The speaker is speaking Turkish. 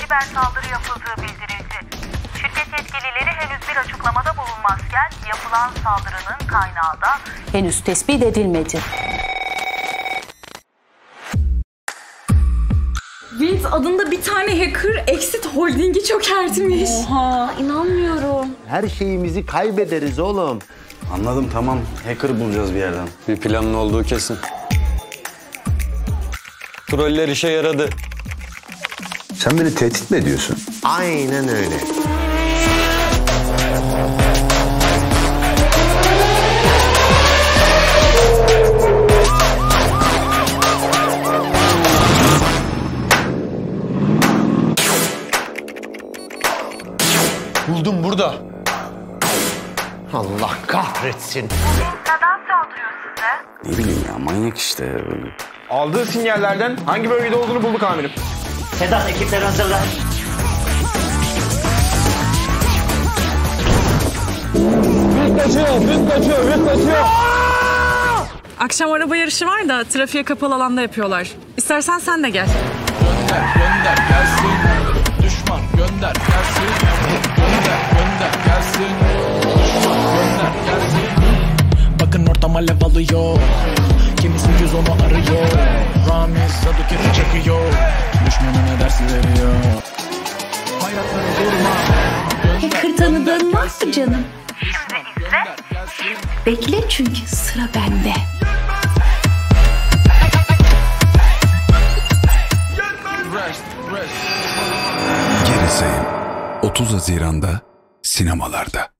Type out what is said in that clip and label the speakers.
Speaker 1: siber saldırı yapıldığı bildirildi. Şirket yetkilileri henüz bir açıklamada bulunmazken yapılan saldırının kaynağı da henüz tespit edilmedi.
Speaker 2: Vince adında bir tane hacker Exit Holding'i çökertmiş. Oha. İnanmıyorum.
Speaker 3: Her şeyimizi kaybederiz oğlum.
Speaker 4: Anladım tamam. Hacker bulacağız bir yerden.
Speaker 5: Bir planın olduğu kesin. Troller işe yaradı.
Speaker 6: Sen beni tehdit mi ediyorsun?
Speaker 3: Aynen öyle.
Speaker 7: Buldum burada.
Speaker 3: Allah kahretsin.
Speaker 1: Neden saldırıyor size?
Speaker 4: Ne bileyim ya manyak işte. Böyle.
Speaker 7: Aldığı sinyallerden hangi bölgede olduğunu bulduk amirim.
Speaker 8: Sedat ekipler hazırla.
Speaker 9: Akşam araba yarışı var da trafiğe kapalı alanda yapıyorlar. İstersen sen de gel.
Speaker 10: Bakın ortama lev alıyor Kimisi yüz onu arıyor Ramiz Zaduket'i çekiyor Düşmanına ders veriyor Bayrakları durma
Speaker 2: Hacker tanıdığın var mı canım?
Speaker 1: Şimdi ise
Speaker 2: Bekle çünkü sıra bende.
Speaker 6: Gerizeyim. 30 Haziran'da sinemalarda.